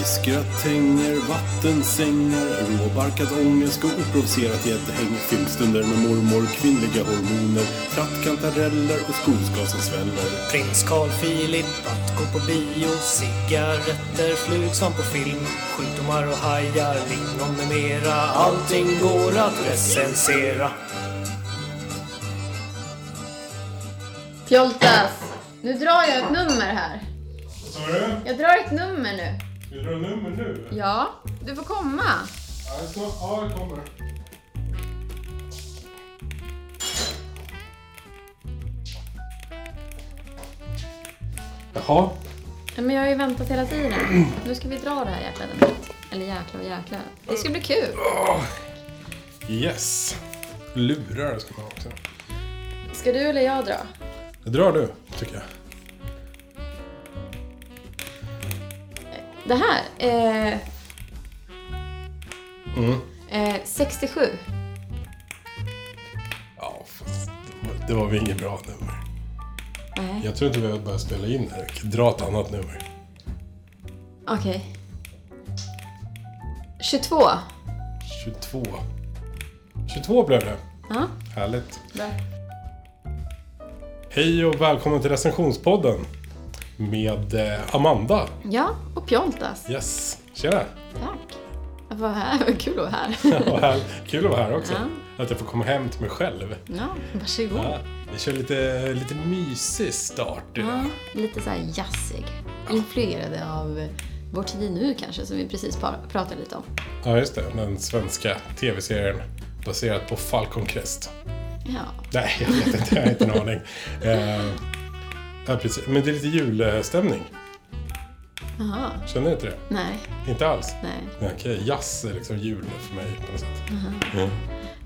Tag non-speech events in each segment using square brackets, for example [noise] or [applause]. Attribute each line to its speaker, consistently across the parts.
Speaker 1: I skrattänger, vattensängar, råbarkad ångest och oprovocerat gäddhäng. Filmstunder med mormor, kvinnliga hormoner, trattkantareller och skogsgas som sväller.
Speaker 2: Prins Carl Philip att gå på bio Cigaretter, flug som på film Sjukdomar och hajar, lingon med mera Allting går att recensera
Speaker 3: Pjoltas! Nu drar jag ett nummer här.
Speaker 1: Vad sa du?
Speaker 3: Jag drar ett nummer nu.
Speaker 1: Ska du dra nummer nu?
Speaker 3: Ja, du får komma.
Speaker 1: Ja, snart. Ja, jag kommer. Jaha.
Speaker 3: Nej, Men jag har ju väntat hela tiden. Nu ska vi dra det här jäkla numret. Eller jäkla och jäkla. Det ska bli kul.
Speaker 1: Yes. Lurar ska man ha också.
Speaker 3: Ska du eller jag dra?
Speaker 1: Det drar du, tycker jag.
Speaker 3: Det här. Eh,
Speaker 1: Mm.
Speaker 3: eh, 67.
Speaker 1: Ja, fast det var- det var väl inget bra nummer.
Speaker 3: Nej,
Speaker 1: Jag tror inte vi har börjat spela in det här. Dra ett annat nummer.
Speaker 3: okej. 22.
Speaker 1: 22. 22 blev det.
Speaker 3: Ja,
Speaker 1: Härligt.
Speaker 3: bra.
Speaker 1: Hej och välkommen till recensionspodden. Med eh, Amanda.
Speaker 3: Ja, och Pjoltas.
Speaker 1: Yes. Tjena.
Speaker 3: Tack. Vad här. vad Kul att vara här.
Speaker 1: Vad här- Kul att vara här också.
Speaker 3: Ja.
Speaker 1: Att jag får komma hem till mig själv.
Speaker 3: Ja, varsågod.
Speaker 1: Ja. Vi kör lite, lite mysig start idag.
Speaker 3: Ja, lite så här jazzig. Influerade av Vår tid nu kanske, som vi precis par- pratade lite om.
Speaker 1: Ja, just det. Den svenska tv-serien baserad på Falcon Crest.
Speaker 3: Ja,
Speaker 1: Nej, jag vet inte. Jag har inte en aning. Eh, ja, precis. Men det är lite julstämning.
Speaker 3: jaha.
Speaker 1: Känner du inte det?
Speaker 3: Nej,
Speaker 1: Inte alls?
Speaker 3: nej.
Speaker 1: Nej, Okej, jazz är liksom jul för mig på något sätt. Mm.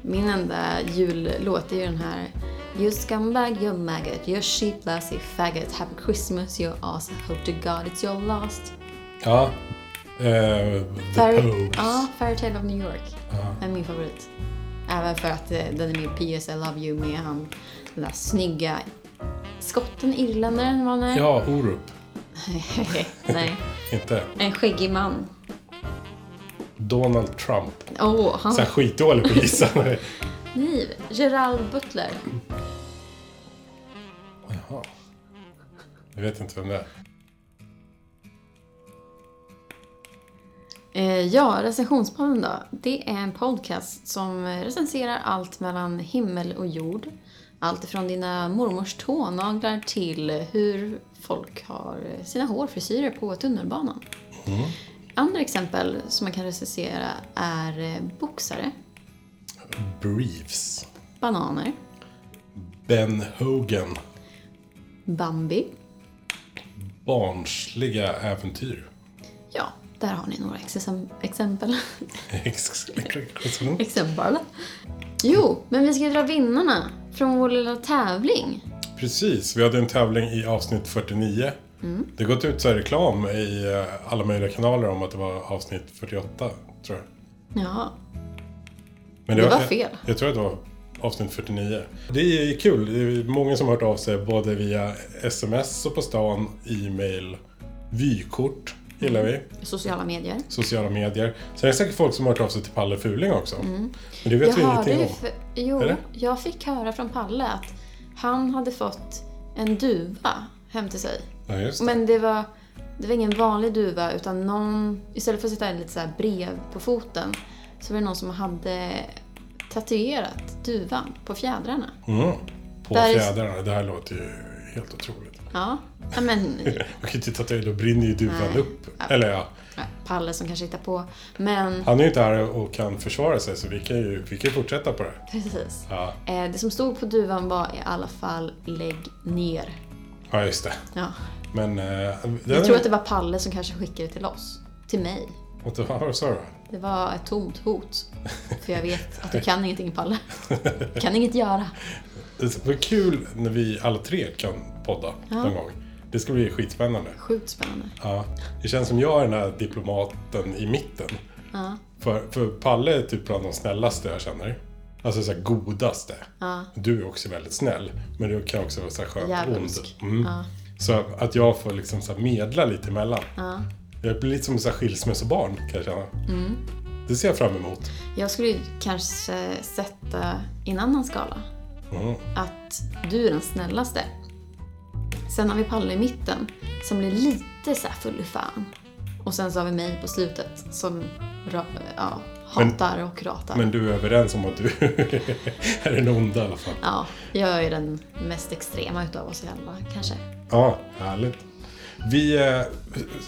Speaker 3: Min enda jullåt är ju den här You scumbag, you maggot, you sheep lass, you faggot Happy Christmas, you ass, hope to God it's your last
Speaker 1: Ja. Eh, the Pogues.
Speaker 3: Ja, Fairytale of New York
Speaker 1: Ja.
Speaker 3: är min favorit. Även för att eh, den är med i PS I Love You med han, den där snygga skotten, irländaren var han är.
Speaker 1: Ja, Orup.
Speaker 3: Nej,
Speaker 1: Inte
Speaker 3: en skäggig man.
Speaker 1: Donald Trump.
Speaker 3: Åh, oh, han
Speaker 1: Så här skitdålig på att gissa.
Speaker 3: kniv. Gerald Butler.
Speaker 1: Jaha. Jag vet inte vem det är.
Speaker 3: Eh, ja, recensionspodden då. Det är en podcast som recenserar allt mellan himmel och jord. Allt ifrån dina mormors tånaglar till hur folk har sina hårfrisyrer på tunnelbanan. Andra exempel som man kan recensera är eh, boxare,
Speaker 1: Briefs.
Speaker 3: bananer,
Speaker 1: Ben Hogan.
Speaker 3: Bambi.
Speaker 1: Barnsliga äventyr.
Speaker 3: Ja, där har ni några exem- exempel. [laughs]
Speaker 1: Ex-
Speaker 3: exempel. Jo, men vi ska ju dra vinnarna från vår lilla tävling.
Speaker 1: Precis, vi hade en tävling i avsnitt 49. Det har gått ut så här reklam i eh, alla möjliga kanaler om att det var avsnitt 48, tror jag.
Speaker 3: Ja,
Speaker 1: Men
Speaker 3: Det var fel.
Speaker 1: Jag, jag tror att det var avsnitt 49. Det är kul. Det är många som har hört av sig både via sms och på stan, e-mail, vykort gillar
Speaker 3: Mm.
Speaker 1: vi,
Speaker 3: sociala medier.
Speaker 1: sociala medier. Sen är det säkert folk som har hört av sig till Palle Fuling också. Men det vet vi
Speaker 3: Mm. hörde
Speaker 1: ingenting
Speaker 3: ju
Speaker 1: om.
Speaker 3: för, jo,
Speaker 1: Eller?
Speaker 3: jag fick höra från Palle att han hade fått en duva hem till sig.
Speaker 1: Ja, just det.
Speaker 3: Men det var, det var ingen vanlig duva utan någon, istället för att sätta en lite så här brev på foten så var det någon som hade tatuerat duvan på fjädrarna.
Speaker 1: Mm. På
Speaker 3: Där är-
Speaker 1: fjädrarna. Det här låter ju helt otroligt. [laughs]
Speaker 3: Ja, ja, men
Speaker 1: Man kan ju inte tatuera, då brinner ju duvan
Speaker 3: Nej.
Speaker 1: upp. Eller ja,
Speaker 3: ja, Palle som kanske hittar på. Men
Speaker 1: han är ju inte här och kan försvara sig så vi kan ju, vi kan ju fortsätta på det. här.
Speaker 3: precis.
Speaker 1: Ja,
Speaker 3: Eh, Det som stod på duvan var i alla fall lägg ner.
Speaker 1: ja just det.
Speaker 3: Ja.
Speaker 1: Men... Eh, den,
Speaker 3: Jag tror att det var Palle som kanske skickade till oss. Till mig.
Speaker 1: Vad sa [laughs] du då?
Speaker 3: Det var ett tomt hot. För jag vet att du kan ingenting [laughs] Palle. Kan inget göra.
Speaker 1: Det var kul när vi alla tre kan podda
Speaker 3: Ja.
Speaker 1: någon gång. Det ska bli skitspännande.
Speaker 3: Sjukt spännande.
Speaker 1: Ja. Det känns som jag är den här diplomaten i mitten.
Speaker 3: Ja,
Speaker 1: För, för Palle är typ bland de snällaste jag känner. Alltså så här godaste.
Speaker 3: ja,
Speaker 1: Du är också väldigt snäll, men du kan också vara så här skönt ond.
Speaker 3: Djävulsk.
Speaker 1: Mm.
Speaker 3: ja,
Speaker 1: Så att jag får liksom så här medla lite emellan.
Speaker 3: ja.
Speaker 1: Jag blir lite som ett skilsmässobarn kan jag känna.
Speaker 3: Mm.
Speaker 1: Det ser jag fram emot.
Speaker 3: Jag skulle ju kanske sätta i en annan skala.
Speaker 1: Mm.
Speaker 3: Att du är den snällaste. Sen har vi Palle i mitten som blir lite så här full i fan. Och sen så har vi mig på slutet som ra- ja,
Speaker 1: Men-
Speaker 3: hatar och ratar.
Speaker 1: Men du är överens om att du [laughs] är den onda i alla fall.
Speaker 3: Ja, jag är den mest extrema utav oss alla kanske.
Speaker 1: Ja, härligt. Vi, eh,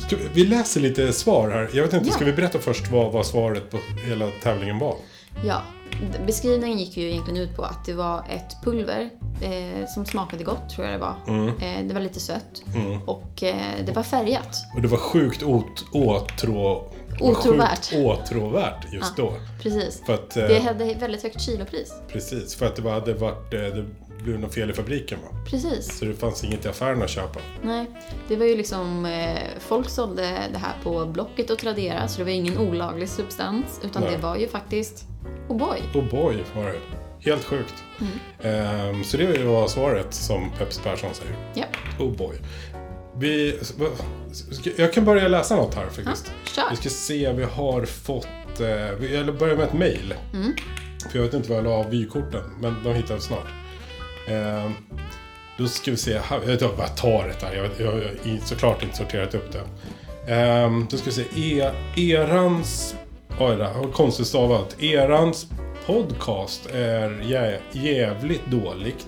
Speaker 1: ska, vi läser lite svar här. Jag vet inte,
Speaker 3: Ja.
Speaker 1: ska vi berätta först vad, vad svaret på hela tävlingen var?
Speaker 3: Ja, d- beskrivningen gick ju egentligen ut på att det var ett pulver eh, som smakade gott, tror jag det var.
Speaker 1: Mm.
Speaker 3: Eh, det var lite sött och eh, det var färgat.
Speaker 1: Och det var sjukt ot, åtrå, det var
Speaker 3: Åtråvärt.
Speaker 1: sjukt Åtråvärt just då.
Speaker 3: Precis.
Speaker 1: För att,
Speaker 3: Det
Speaker 1: eh,
Speaker 3: hade väldigt högt kilopris.
Speaker 1: precis, för att det, var, hade varit, eh, det blev något fel i fabriken va?
Speaker 3: Precis.
Speaker 1: Så det fanns inget i affären att köpa.
Speaker 3: Nej, det var ju liksom... Eh, folk sålde det här på Blocket och Tradera så det var ingen olaglig substans utan
Speaker 1: Nej.
Speaker 3: det var ju faktiskt O'boy.
Speaker 1: Och boy var det. Helt sjukt.
Speaker 3: Mm.
Speaker 1: Ehm, så det var svaret som Peps Persson säger.
Speaker 3: Ja,
Speaker 1: Oh boy. Vi, ska- jag kan börja läsa något här faktiskt.
Speaker 3: kör.
Speaker 1: Vi ska se, vi har fått... eh, vi- Jag börjar med ett mejl. För jag vet inte var jag la av vykorten, men de hittar vi snart. Eh, Då ska vi se, här- jag tar- jag tar det här. Jag vet- jag har i- såklart inte sorterat upp det. Eh, Då ska vi se, e, erans... Oj, det här var konstigt stavat. Erans podcast är jä, jävligt dåligt.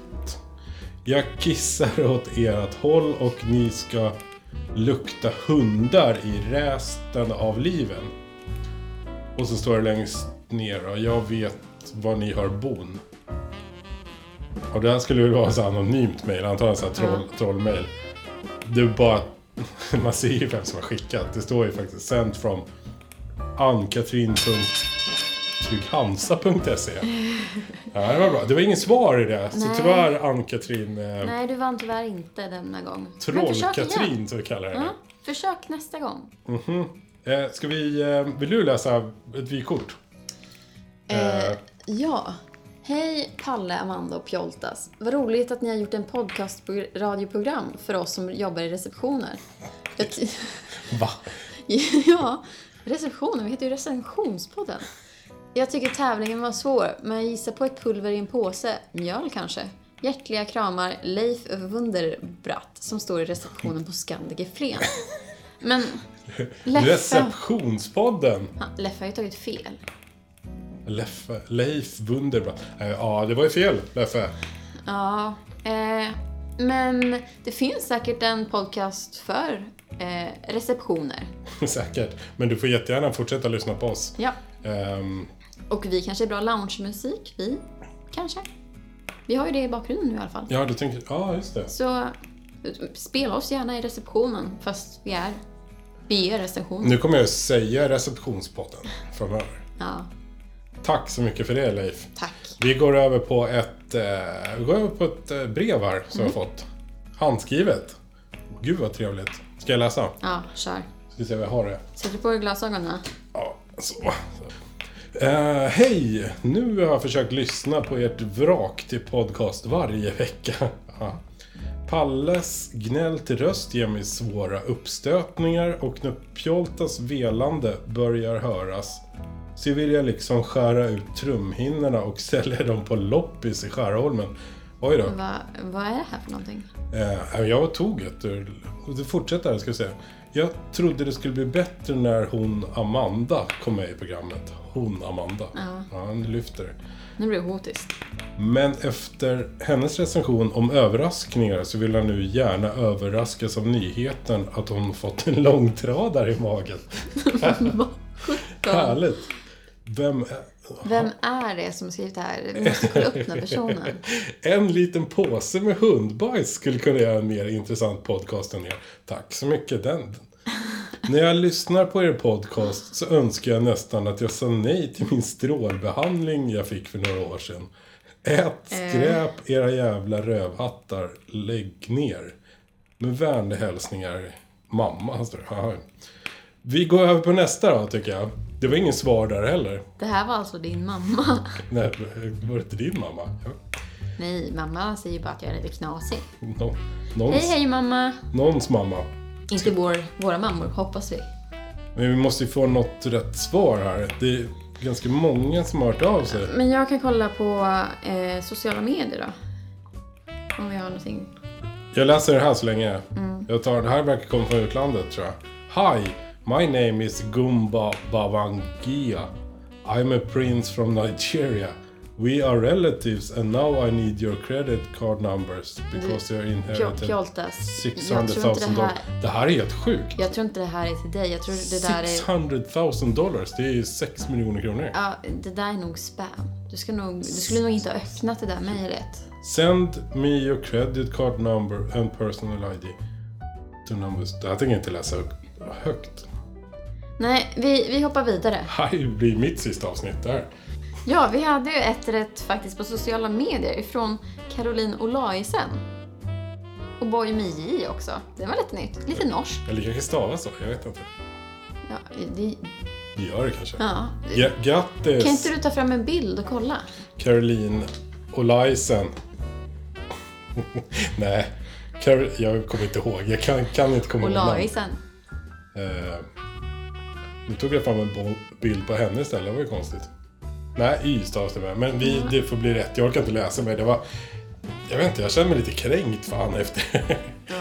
Speaker 1: Jag kissar åt ert håll och ni ska lukta hundar i resten av liven. Och så står det längst ner då, jag vet var ni har bon. Och det här skulle väl vara så anonymt mejl, antagligen så här troll, trollmejl. Det är bara, [laughs] man ser ju vem som har skickat. Det står ju faktiskt sent från ann-katrin.trygg-hansa.se. Ja, det var bra. Det var ingen svar i det. Så
Speaker 3: Nej.
Speaker 1: tyvärr Ann-Katrin eh,
Speaker 3: Nej, du vann tyvärr inte denna gång. Men försök igen.
Speaker 1: Troll-Katrin, som vi kallar henne.
Speaker 3: Ja, försök nästa gång.
Speaker 1: Eh, ska vi, eh, vill du läsa ett vykort? Eh.
Speaker 3: Eh, ja. Hej Palle, Amanda och Pjoltas. Vad roligt att ni har gjort en podcastradioprogram för oss som jobbar i receptioner. Jag t-
Speaker 1: Va?
Speaker 3: [laughs] ja, receptionen, vi heter ju recensionspodden. Jag tycker tävlingen var svår, men jag gissar på ett pulver i en påse. Mjöl kanske? Hjärtliga kramar, Leif Wunderbratt, som står i receptionen på Scandic i Flen. Men Leffe,
Speaker 1: Receptionspodden!
Speaker 3: Ja, Leffe har ju tagit fel.
Speaker 1: Leffe, Leif Wunderbrand. Eh, ja, det var ju fel, Leffe.
Speaker 3: Ja, eh, men det finns säkert en podcast för eh, receptioner.
Speaker 1: [laughs] Säkert. Men du får jättegärna fortsätta lyssna på oss.
Speaker 3: Ja.
Speaker 1: Ehm,
Speaker 3: Och vi kanske är bra loungemusik, vi kanske. Vi har ju det i bakgrunden nu i alla fall.
Speaker 1: ja, du tänker... Ja, just det.
Speaker 3: Så eh, spela oss gärna i receptionen fast vi är, vi är recension.
Speaker 1: Nu kommer jag säga receptionspodden framöver.
Speaker 3: Ja,
Speaker 1: Tack så mycket för det, Leif.
Speaker 3: tack.
Speaker 1: Vi går över på ett, eh, vi går över på ett eh, brev här som jag fått. Handskrivet. Gud vad trevligt. Ska jag läsa?
Speaker 3: Ja, kör.
Speaker 1: Ska se vad jag har det.
Speaker 3: Sätter på dig glasögonen.
Speaker 1: Ja, så. Eh, Hej! Nu har jag försökt lyssna på ert vrak till podcast varje vecka. Ja. Palles gnäll till röst ger mig svåra uppstötningar och när Pjoltas velande börjar höras så vill jag liksom skära ut trumhinnorna och sälja dem på loppis i Skärholmen. Oj då.
Speaker 3: Va, vad är det här för någonting?
Speaker 1: Eh, jag tog ett ur... och Det fortsätter här, ska jag säga. Jag trodde det skulle bli bättre när hon Amanda kom med i programmet. Hon Amanda. Ja. han lyfter.
Speaker 3: Nu blir det hotiskt. [laughs]
Speaker 1: Men efter hennes recension om överraskningar så vill han nu gärna överraskas av nyheten att hon fått en långtradare i magen. Härligt! Vem är...
Speaker 3: Vem är det som har skrivit det här? Vi måste kolla upp den här personen.
Speaker 1: En liten påse med hundbajs skulle kunna göra en mer intressant podcast än er. Tack så mycket, den. När jag lyssnar på er podcast så önskar jag nästan att jag sa nej till min strålbehandling jag fick för några år sedan. Ät
Speaker 3: Eh.
Speaker 1: skräp, era jävla rövhattar, lägg ner. Med vänliga hälsningar, mamma. står det. Jaha. Vi går över på nästa då, tycker jag. Det var ingen svar där heller.
Speaker 3: Det här var alltså din mamma. [laughs]
Speaker 1: Nej, var det inte din mamma? Ja.
Speaker 3: Nej, mamma säger bara att jag är lite knasig.
Speaker 1: Nå- någons-
Speaker 3: Hej, hej mamma!
Speaker 1: Någons mamma.
Speaker 3: Inte vår, våra mammor, hoppas vi.
Speaker 1: Men vi måste ju få något rätt svar här. Det är ganska många som har hört av sig.
Speaker 3: Men jag kan kolla på eh, sociala medier då. Om vi har någonting.
Speaker 1: Jag läser det här så länge.
Speaker 3: Mm.
Speaker 1: Jag tar, det här verkar komma från utlandet tror jag. Hi, my name is Gumba Bavangia. I'm a prince from Nigeria. We are relatives and now I need your credit card numbers because you're
Speaker 3: Pjol-
Speaker 1: inherited
Speaker 3: Pjoltas. Jag
Speaker 1: 600
Speaker 3: tror,
Speaker 1: 000
Speaker 3: inte det
Speaker 1: dollar.
Speaker 3: här,
Speaker 1: Det här är helt sjukt.
Speaker 3: jag tror inte det här är till dig. Jag tror det där är...
Speaker 1: 600 000 dollar, det är ju 6 miljoner kronor.
Speaker 3: Ja, det där är nog spam. Du, ska nog, du skulle nog inte ha öppnat det där mejlet.
Speaker 1: Send me your credit card number and personal ID. To numbers. Det här tänker jag inte läsa högt.
Speaker 3: Nej, vi, vi hoppar vidare.
Speaker 1: Här blir mitt sista avsnitt där.
Speaker 3: Ja, vi hade ju ett rätt faktiskt på sociala medier ifrån Caroline Olaisen. Och Boy Miji också. Det var lite nytt. Lite norskt.
Speaker 1: Eller kanske stavas så, jag vet inte.
Speaker 3: Ja, det,
Speaker 1: Vi gör det kanske.
Speaker 3: ja.
Speaker 1: Ja, grattis
Speaker 3: Kan inte du ta fram en bild och kolla?
Speaker 1: Caroline Olaisen. [laughs] Nej, Carol- jag kommer inte ihåg. Jag kan, kan inte komma ihåg namn.
Speaker 3: Olaisen.
Speaker 1: Eh, nu tog jag fram en bo- bild på henne istället, det var ju konstigt. Nej, Y stavas det med. Men vi,
Speaker 3: Mm.
Speaker 1: det får bli rätt. Jag orkar inte läsa mer. Det var... Jag vet inte, jag känner mig lite kränkt fan efter.
Speaker 3: Ja.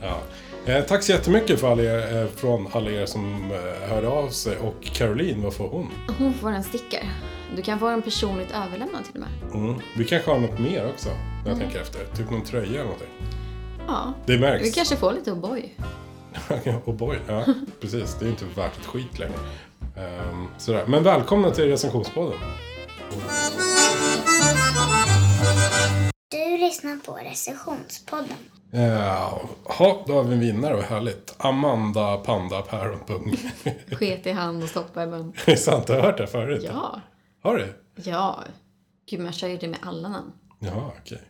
Speaker 1: [laughs] Ja. Eh, tack så jättemycket för alla er, eh, från alla er som eh, hörde av sig. Och Caroline, vad får hon?
Speaker 3: Hon får en sticker. Du kan få den personligt överlämnad till och med.
Speaker 1: Mm. Vi kanske har något mer också, när
Speaker 3: Mm.
Speaker 1: jag tänker efter. Typ någon tröja eller någonting.
Speaker 3: Ja.
Speaker 1: Det märks.
Speaker 3: Vi kanske får lite O'boy.
Speaker 1: oh boy. [laughs] Ja, precis. Det är inte värt ett skit längre. Ehm, sådär. Men välkomna till recensionspodden.
Speaker 4: Du lyssnar på Recessionspodden.
Speaker 1: Eh, Ja, då har vi en vinnare, vad härligt. Amanda Panda Päronpung. [laughs]
Speaker 3: Sket i hand och stoppa i mun.
Speaker 1: det är sant, du har hört det förut?
Speaker 3: Ja.
Speaker 1: Har du?
Speaker 3: Ja. Gud, man kör ju det med alla namn.
Speaker 1: Ja, okej.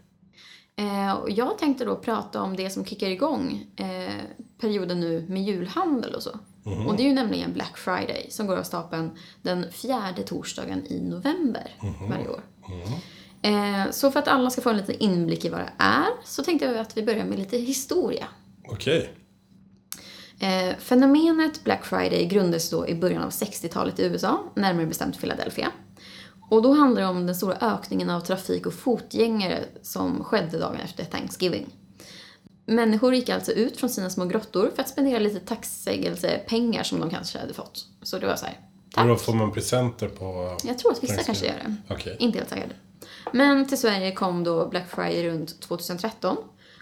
Speaker 3: Eh, och jag tänkte då prata om det som kickar igång eh, perioden nu med julhandel och så. Och det är ju nämligen Black Friday som går av stapeln den fjärde torsdagen i november varje år. Eh, så för att alla ska få en liten inblick i vad det är så tänkte jag att vi börjar med lite historia.
Speaker 1: Okej.
Speaker 3: Eh, fenomenet Black Friday grundades då i början av 60-talet i USA, närmare bestämt Philadelphia. Och då handlar det om den stora ökningen av trafik och fotgängare som skedde dagen efter Thanksgiving. Människor gick alltså ut från sina små grottor för att spendera lite tacksägelsepengar som de kanske hade fått. Så det var så här,
Speaker 1: Och då
Speaker 3: tack.
Speaker 1: får man presenter på...
Speaker 3: Jag tror att vissa kanske
Speaker 1: Thanksgiving.
Speaker 3: gör det.
Speaker 1: Okej.
Speaker 3: Inte helt taggad. Men till Sverige kom då Black Friday runt 2013.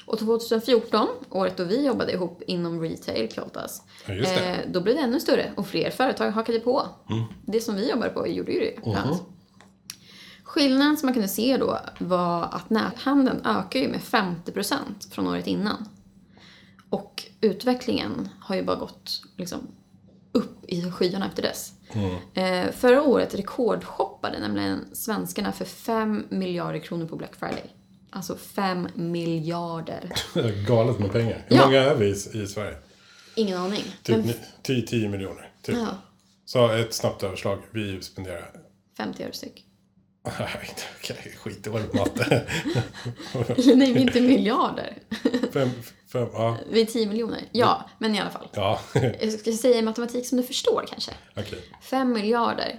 Speaker 3: Och 2014, året då vi jobbade ihop inom retail, Kjoltas,
Speaker 1: Ja, just det. Mm.
Speaker 3: eh, då blev det ännu större och fler företag hakade på. Det som vi jobbar på gjorde ju det. bland annat. Skillnaden som man kunde se då var att näthandeln ökar ju med 50% från året innan. Och utvecklingen har ju bara gått liksom, upp i skyarna efter dess. Eh, förra året rekordshoppade nämligen svenskarna för 5 miljarder kronor på Black Friday. Alltså 5 miljarder.
Speaker 1: Galet med pengar. Hur
Speaker 3: Ja.
Speaker 1: många är vi i, i Sverige?
Speaker 3: Ingen aning.
Speaker 1: Typ
Speaker 3: Men
Speaker 1: ni- 10, 10 miljoner. Typ.
Speaker 3: ja,
Speaker 1: Så ett snabbt överslag. Vi spenderar... [laughs]
Speaker 3: 50 öre styck. [laughs]
Speaker 1: Okej, skitdålig på matte.
Speaker 3: Nej, men inte miljarder.
Speaker 1: fem, fem, ja.
Speaker 3: Vi är 10 miljoner. Ja, men i alla fall.
Speaker 1: Ja, [laughs] okej.
Speaker 3: Jag ska säga matematik som du förstår kanske. 5 miljarder,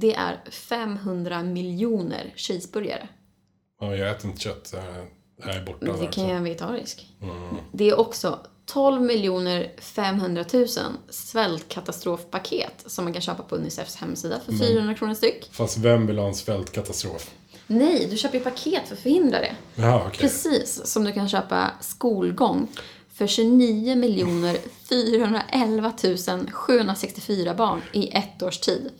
Speaker 3: det är 500 miljoner cheeseburgare.
Speaker 1: Ja, jag äter inte kött. så Jag är borta.
Speaker 3: Det
Speaker 1: där
Speaker 3: kan
Speaker 1: också.
Speaker 3: jag en vegetarisk.
Speaker 1: Mm.
Speaker 3: Det är också 12 miljoner 500 000 svältkatastrofpaket som man kan köpa på Unicefs hemsida för 400 kronor styck.
Speaker 1: Fast vem vill ha en svältkatastrof?
Speaker 3: Nej, du köper ju paket för att förhindra det.
Speaker 1: Ja, okej.
Speaker 3: Precis som du kan köpa skolgång för 29 miljoner 411 764 barn i ett års tid.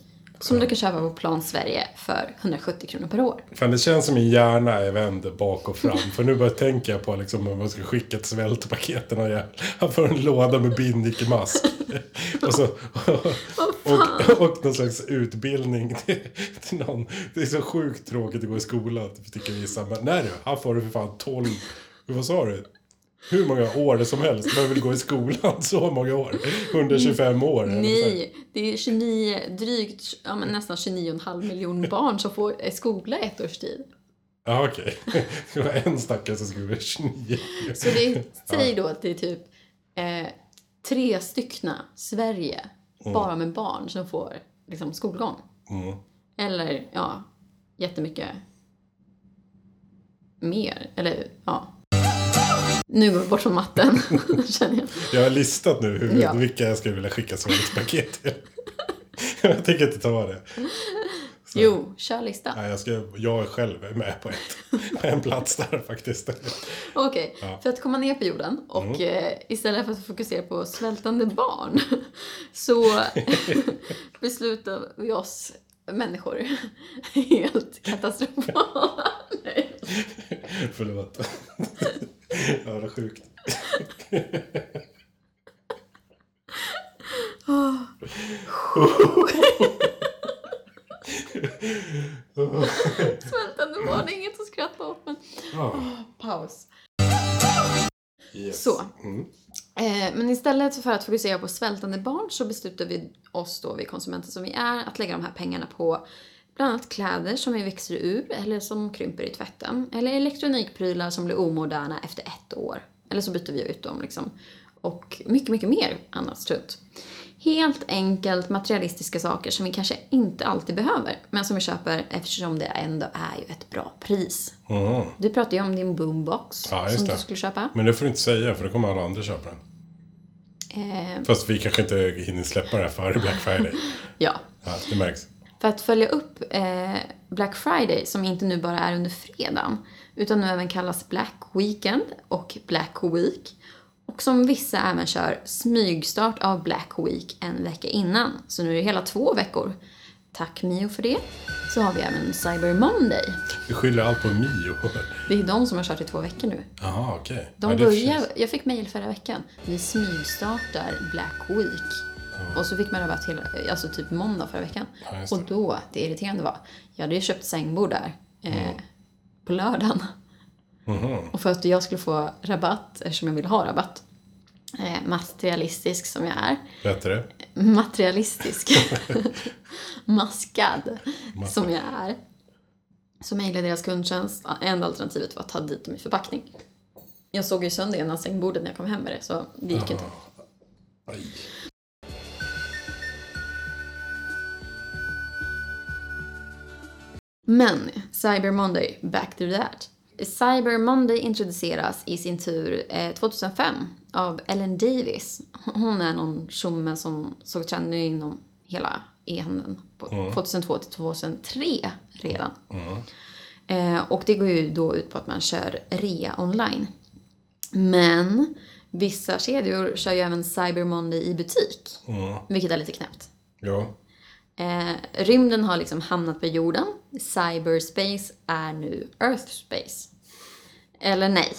Speaker 3: Som du kan köpa på Plan Sverige för 170 kronor per år.
Speaker 1: Fan, det känns som min hjärna är vänd bak och fram. För nu börjar jag tänka på liksom, om man ska skicka ett svältpaket. till någon jävla- Han får en låda med binnikemask. Och, så, och, och någon slags utbildning till, till någon. Det är så sjukt tråkigt att gå i skolan, tycker vissa. Men nej du, han får det för fan 12... Vad sa du? Hur många år som helst. Man vill gå i skolan så många år. 125 år. eller så.
Speaker 3: Nej, det är 29, drygt, ja, men nästan 29,5 miljoner
Speaker 1: [laughs]
Speaker 3: barn som får eh, skola i ett års tid.
Speaker 1: Ja, okej. Det var en stackare som skulle bli 29.
Speaker 3: Så
Speaker 1: [laughs]
Speaker 3: det, säg då att det är typ eh, tre styckna Sverige bara med barn som får liksom, skolgång.
Speaker 1: Mm.
Speaker 3: Eller ja, jättemycket mer. Eller ja. Nu går vi bort från matten, [laughs] känner jag.
Speaker 1: Jag har listat nu hur,
Speaker 3: Ja.
Speaker 1: vilka jag skulle vilja skicka som ett paket till. jag tänker inte ta det.
Speaker 3: Jo, kör lista.
Speaker 1: Nej, jag, ska, jag är själv med på, ett, på en plats där faktiskt.
Speaker 3: Okej, för att komma ner på jorden och eh, istället för att fokusera på svältande barn [laughs] så beslutar vi oss människor [laughs] helt katastrofala. Nej.
Speaker 1: [laughs] Förlåt. ja, det är sjukt.
Speaker 3: [laughs] svältande barn är inget att skratta åt men
Speaker 1: Ja.
Speaker 3: paus.
Speaker 1: Yes.
Speaker 3: Så.
Speaker 1: Mm.
Speaker 3: Eh, men istället för att fokusera på svältande barn så beslutar vi oss då, vi konsumenter som vi är, att lägga de här pengarna på bland annat kläder som vi växer ur eller som krymper i tvätten. Eller elektronikprylar som blir omoderna efter ett år. Eller så byter vi ut dem liksom. Och mycket, mycket mer annat strunt. Helt enkelt materialistiska saker som vi kanske inte alltid behöver, men som vi köper eftersom det ändå är ju ett bra pris.
Speaker 1: Mm.
Speaker 3: Du pratade ju om din boombox
Speaker 1: Ja, just
Speaker 3: som du
Speaker 1: det.
Speaker 3: skulle köpa.
Speaker 1: Men det får du inte säga för då kommer alla andra köpa den.
Speaker 3: Eh,
Speaker 1: Fast vi kanske inte hinner släppa det här före Black Friday.
Speaker 3: ja,
Speaker 1: Ja, det märks.
Speaker 3: För att följa upp eh, Black Friday, som inte nu bara är under fredagen, utan nu även kallas Black Weekend och Black Week. Och som vissa även kör smygstart av Black Week en vecka innan. Så nu är det hela två veckor. Tack Mio för det. Så har vi även Cyber Monday.
Speaker 1: Vi skyller allt på Mio.
Speaker 3: Det är de som har kört i två veckor nu.
Speaker 1: Jaha, okej.
Speaker 3: De
Speaker 1: Ja, det
Speaker 3: börjar,
Speaker 1: förstås.
Speaker 3: jag fick mejl förra veckan. Vi smygstartar Black Week. Och så fick man rabatt till, alltså typ måndag förra veckan.
Speaker 1: Ja, just
Speaker 3: och
Speaker 1: det.
Speaker 3: då, det irriterande var, jag hade ju köpt sängbord där eh, på lördagen.
Speaker 1: Mhm.
Speaker 3: Och för att jag skulle få rabatt, eftersom jag vill ha rabatt, eh, materialistisk som jag är,
Speaker 1: Rätt är det.
Speaker 3: materialistisk, maskad som jag är, så mejlade deras kundtjänst. Enda alternativet var att ta dit dem i förpackning. Jag såg ju sönder ena sängbordet när jag kom hem med det, så det gick inte.
Speaker 1: Aj.
Speaker 3: Men Cyber Monday, back to that. Cyber Monday introduceras i sin tur eh, 2005 av Ellen Davis. Hon är någon tjomme som såg trenden inom hela e-handeln på 2002 till 2003 redan. Eh, och det går ju då ut på att man kör rea online. Men vissa kedjor kör ju även Cyber Monday i butik, vilket är lite knäppt.
Speaker 1: Ja.
Speaker 3: Eh, rymden har liksom hamnat på jorden. Cyberspace är nu Earthspace. Eller nej.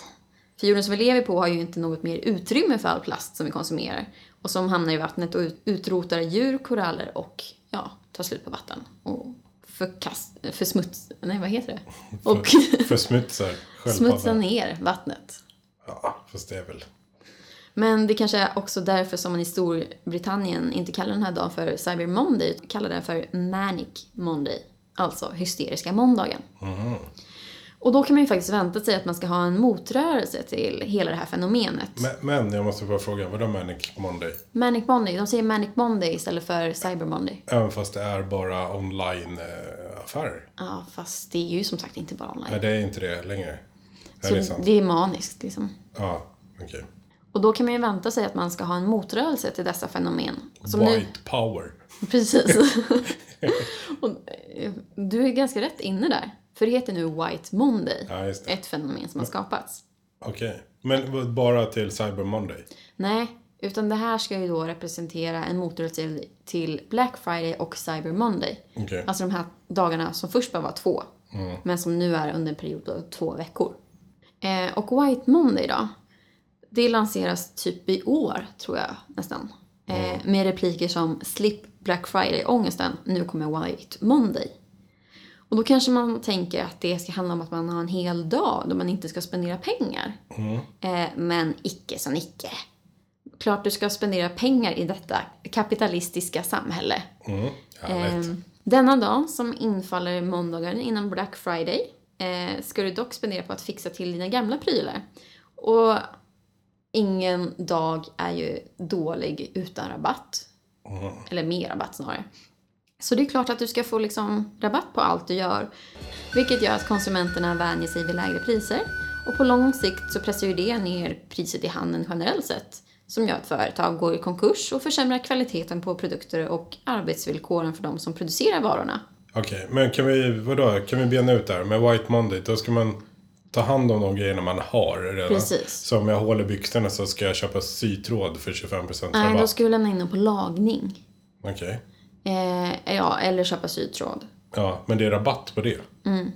Speaker 3: För jorden som vi lever på har ju inte något mer utrymme för all plast som vi konsumerar. Och som hamnar i vattnet och ut- utrotar djur, koraller och ja, tar slut på vatten. Och förkast... Försmuts... Nej, vad heter det? Och [laughs]
Speaker 1: För, försmutsar
Speaker 3: smutsa
Speaker 1: sköldpaddan.
Speaker 3: ner vattnet.
Speaker 1: Ja, fast det är väl...
Speaker 3: Men det kanske är också därför som man i Storbritannien inte kallar den här dagen för Cyber Monday, utan kallar den för Manic Monday. Alltså hysteriska måndagen. Och då kan man ju faktiskt vänta sig att man ska ha en motrörelse till hela det här fenomenet.
Speaker 1: Men, men jag måste bara fråga, vadå Manic Monday?
Speaker 3: Manic Monday, de säger Manic Monday istället för Cyber Monday.
Speaker 1: Även fast det är bara online-affärer?
Speaker 3: Ja, fast det är ju som sagt inte bara online.
Speaker 1: Nej, det är inte det längre. är
Speaker 3: Så
Speaker 1: det sant?
Speaker 3: det är maniskt liksom.
Speaker 1: Ja, okej.
Speaker 3: Och då kan man ju vänta sig att man ska ha en motrörelse till dessa fenomen. Som nu-
Speaker 1: White power.
Speaker 3: Precis. och, eh, du är ganska rätt inne där. För det heter nu White Monday.
Speaker 1: Ja, just det.
Speaker 3: Ett fenomen som har skapats.
Speaker 1: Okej. Men vad- bara till Cyber Monday?
Speaker 3: Nej, utan det här ska ju då representera en motrörelse till- till Black Friday och Cyber Monday.
Speaker 1: Okej.
Speaker 3: Alltså de här dagarna som först bara var två. Men som nu är under en period av två veckor. Eh, och White Monday då? Det lanseras typ i år, tror jag nästan. Eh, Med repliker som “Slipp Black Friday-ångesten, nu kommer White Monday”. Och då kanske man tänker att det ska handla om att man har en hel dag då man inte ska spendera pengar. Eh, men icke som icke. Klart du ska spendera pengar i detta kapitalistiska samhälle.
Speaker 1: Mm. Härligt.
Speaker 3: Ehm, Denna dag, som infaller måndagen innan Black Friday, eh, ska du dock spendera på att fixa till dina gamla prylar. Och ingen dag är ju dålig utan rabatt. Eller mer rabatt snarare. Så det är klart att du ska få liksom rabatt på allt du gör. Vilket gör att konsumenterna vänjer sig vid lägre priser. Och på lång sikt så pressar ju det ner priset i handeln generellt sett. Som gör att företag går i konkurs och försämrar kvaliteten på produkter och arbetsvillkoren för de som producerar varorna.
Speaker 1: Okej, men kan vi, vadå, kan vi bena ut det här? Med White Monday, då ska man ta hand om de grejerna man har redan.
Speaker 3: Precis.
Speaker 1: Så om jag håller byxorna så ska jag köpa sytråd för 25%
Speaker 3: Nej, då
Speaker 1: rabatt.
Speaker 3: ska du lämna in dem på lagning.
Speaker 1: Okej.
Speaker 3: Eh, ja, eller köpa sytråd.
Speaker 1: Ja, men det är rabatt på det? Mm.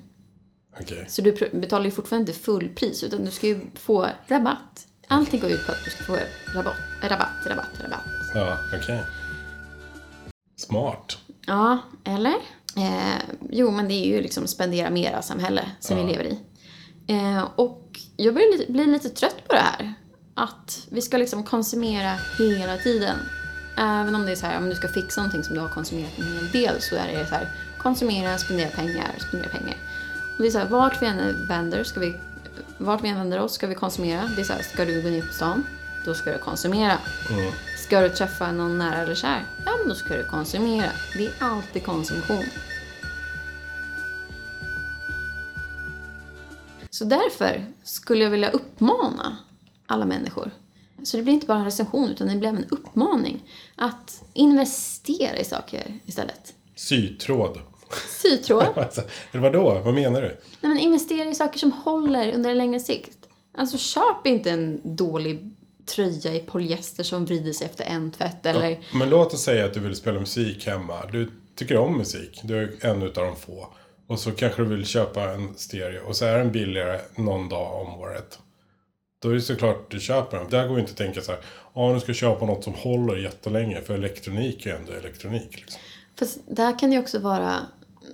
Speaker 1: Okej.
Speaker 3: Så du pr- betalar ju fortfarande inte fullpris utan du ska ju få rabatt. Allting går ut på att du ska få rabatt, rabatt, rabatt, rabatt.
Speaker 1: Ja, okej. Smart.
Speaker 3: Ja, eller? Eh, jo, men det är ju liksom spendera mera-samhälle som vi lever i. Eh, och jag börjar li- bli lite trött på det här. Att vi ska liksom konsumera hela tiden. Även om det är så här, om du ska fixa någonting som du har konsumerat en hel del så är det så här, konsumera, spendera pengar, spendera pengar. Och det är så här, vart vi än vänder, ska vi, vart vi än vänder oss ska vi konsumera. Det är så här, ska du gå ner på stan, då ska du konsumera. Ska du träffa någon nära eller kär, ja men då ska du konsumera. Det är alltid konsumtion. Så därför skulle jag vilja uppmana alla människor. Så det blir inte bara en recension utan det blev en uppmaning. Att investera i saker istället.
Speaker 1: Sytråd.
Speaker 3: Sytråd.
Speaker 1: [laughs] Alltså, Eller vadå? Vad menar du?
Speaker 3: Nej, men investera i saker som håller under en längre sikt. Alltså köp inte en dålig tröja i polyester som vrider sig efter en tvätt eller...
Speaker 1: Men låt oss säga att du vill spela musik hemma. Du tycker om musik. Du är en utav de få. Och så kanske du vill köpa en stereo. Och så är den billigare någon dag om året. Då är det såklart du köper den. Där går ju inte att tänka så här. Ja, nu ska jag köpa något som håller jättelänge. För elektronik är ju ändå elektronik. Liksom.
Speaker 3: Fast där kan det ju också vara...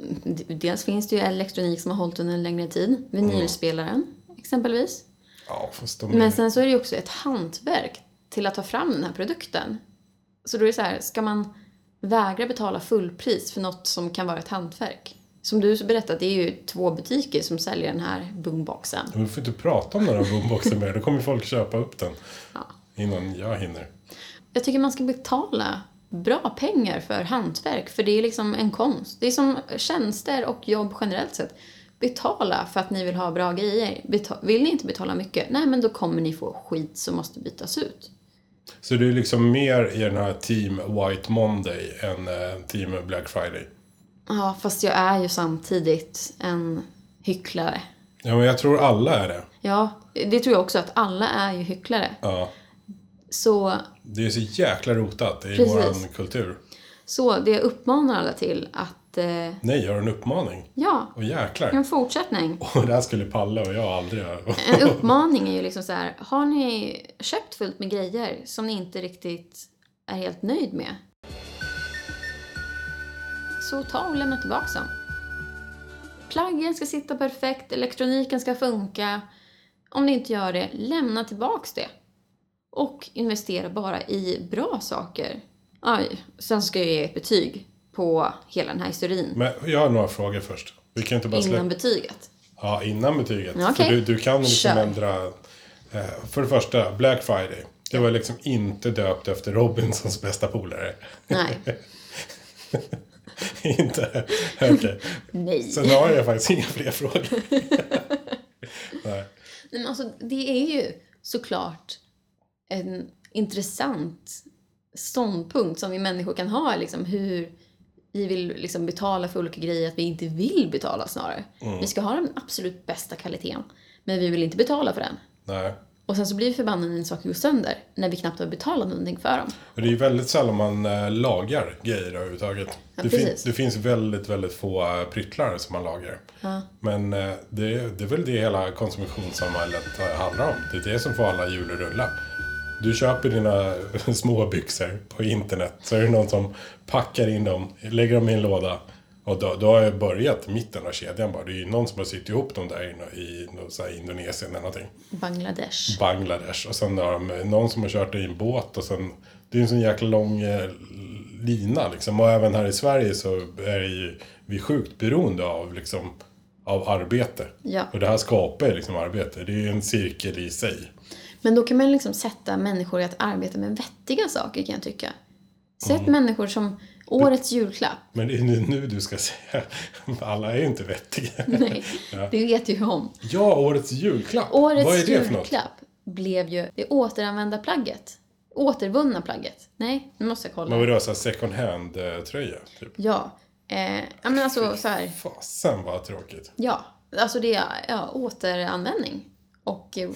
Speaker 3: mm, Dels finns det ju elektronik som har hållit under en längre tid. Vinylspelaren, exempelvis.
Speaker 1: Ja, fast de
Speaker 3: Men sen så är det ju också ett hantverk till att ta fram den här produkten. Så då är det så här, ska man vägra betala fullpris för något som kan vara ett hantverk? Som du så berättat, det är ju två butiker som säljer den här boomboxen.
Speaker 1: Men Vi får inte prata om den här boomboxen mer. Då kommer ju folk köpa upp den.
Speaker 3: Ja.
Speaker 1: Innan jag hinner.
Speaker 3: Jag tycker man ska betala bra pengar för hantverk, för det är liksom en konst. Det är som tjänster och jobb generellt sett. Betala för att ni vill ha bra grejer. Beta- vill ni inte betala mycket, nej men då kommer ni få skit som måste bytas ut.
Speaker 1: Så du är liksom mer i den här Team White Monday än eh, Team Black Friday.
Speaker 3: Ja, fast jag är ju samtidigt en hycklare.
Speaker 1: Ja, men jag tror alla är det.
Speaker 3: Ja, det tror jag också att alla är ju hycklare.
Speaker 1: Ja.
Speaker 3: Så,
Speaker 1: Det är så jäkla rotat i
Speaker 3: Precis.
Speaker 1: våran kultur.
Speaker 3: så det jag uppmanar alla till att, eh,
Speaker 1: Nej, jag har en uppmaning.
Speaker 3: ja,
Speaker 1: Och jäklar.
Speaker 3: en fortsättning.
Speaker 1: Och det här skulle Palle och jag aldrig göra.
Speaker 3: En uppmaning är ju liksom så här, har ni köpt fullt med grejer som ni inte riktigt är helt nöjd med? Så ta och lämna tillbaka dem. Plaggen ska sitta perfekt, elektroniken ska funka. Om ni inte gör det, lämna tillbaka det. Och investera bara i bra saker. Aj, sen ska jag ge ett betyg på hela den här historien
Speaker 1: Men jag har några frågor först. Vi kan inte bara släppa...
Speaker 3: innan betyget.
Speaker 1: Ja, innan betyget.
Speaker 3: Ja, okej.
Speaker 1: För du, du kan liksom
Speaker 3: Kör.
Speaker 1: ändra... Eh, för det första, Black Friday. Det var liksom inte döpt efter Robinsons bästa polare. [laughs]
Speaker 3: Nej.
Speaker 1: inte? Okej.
Speaker 3: Nej.
Speaker 1: Sen har jag faktiskt inga fler frågor. Nej.
Speaker 3: Nej, men alltså, det är ju såklart en intressant ståndpunkt som vi människor kan ha. Liksom, hur vi vill liksom, betala för olika grejer, att vi inte vill betala snarare. Vi ska ha den absolut bästa kvaliteten, men vi vill inte betala för den.
Speaker 1: Nej.
Speaker 3: Och sen så blir vi förbannade när saker går sönder, när vi knappt har betalat någonting för dem.
Speaker 1: Och det är ju väldigt sällan man eh, lagar grejer överhuvudtaget.
Speaker 3: Ja,
Speaker 1: det, fin-
Speaker 3: precis.
Speaker 1: det finns väldigt, väldigt få eh, pryttlar som man lagar. Men eh, det, det är väl det hela konsumtionssamhället eh, handlar om. Det är det som får alla hjul att rulla. Du köper dina eh, [laughs] små byxor på internet så är det någon som packar in dem, lägger dem i en låda. Och då, då har jag börjat mitten av kedjan bara. Det är ju någon som har sytt ihop dem där inne i någon så här Indonesien eller någonting.
Speaker 3: Bangladesh.
Speaker 1: Bangladesh och sen har de eh, någon som har kört i en båt och sen det är en sån jäkla lång eh, lina liksom och även här i Sverige så är det ju, vi är sjukt beroende av liksom av arbete.
Speaker 3: Ja.
Speaker 1: Och det här skapar ju liksom arbete. Det är ju en cirkel i sig.
Speaker 3: Men då kan man liksom sätta människor i att arbeta med vettiga saker kan jag tycka. Sett människor som årets julklapp. [laughs]
Speaker 1: Men det är ju nu du ska [laughs] säga. Alla är inte vettiga.
Speaker 3: [laughs] Nej, det vet ju om.
Speaker 1: Ja, årets julklapp.
Speaker 3: Årets
Speaker 1: Vad är det för något?
Speaker 3: julklapp blev ju det återanvända plagget. Återvunna plagget. Nej, nu måste jag kolla.
Speaker 1: Man vill ha så här second hand-tröja. Typ.
Speaker 3: Ja. Eh, ja, men alltså så här.
Speaker 1: Fasen vad tråkigt.
Speaker 3: Ja, alltså det är ja, återanvändning. Och eh,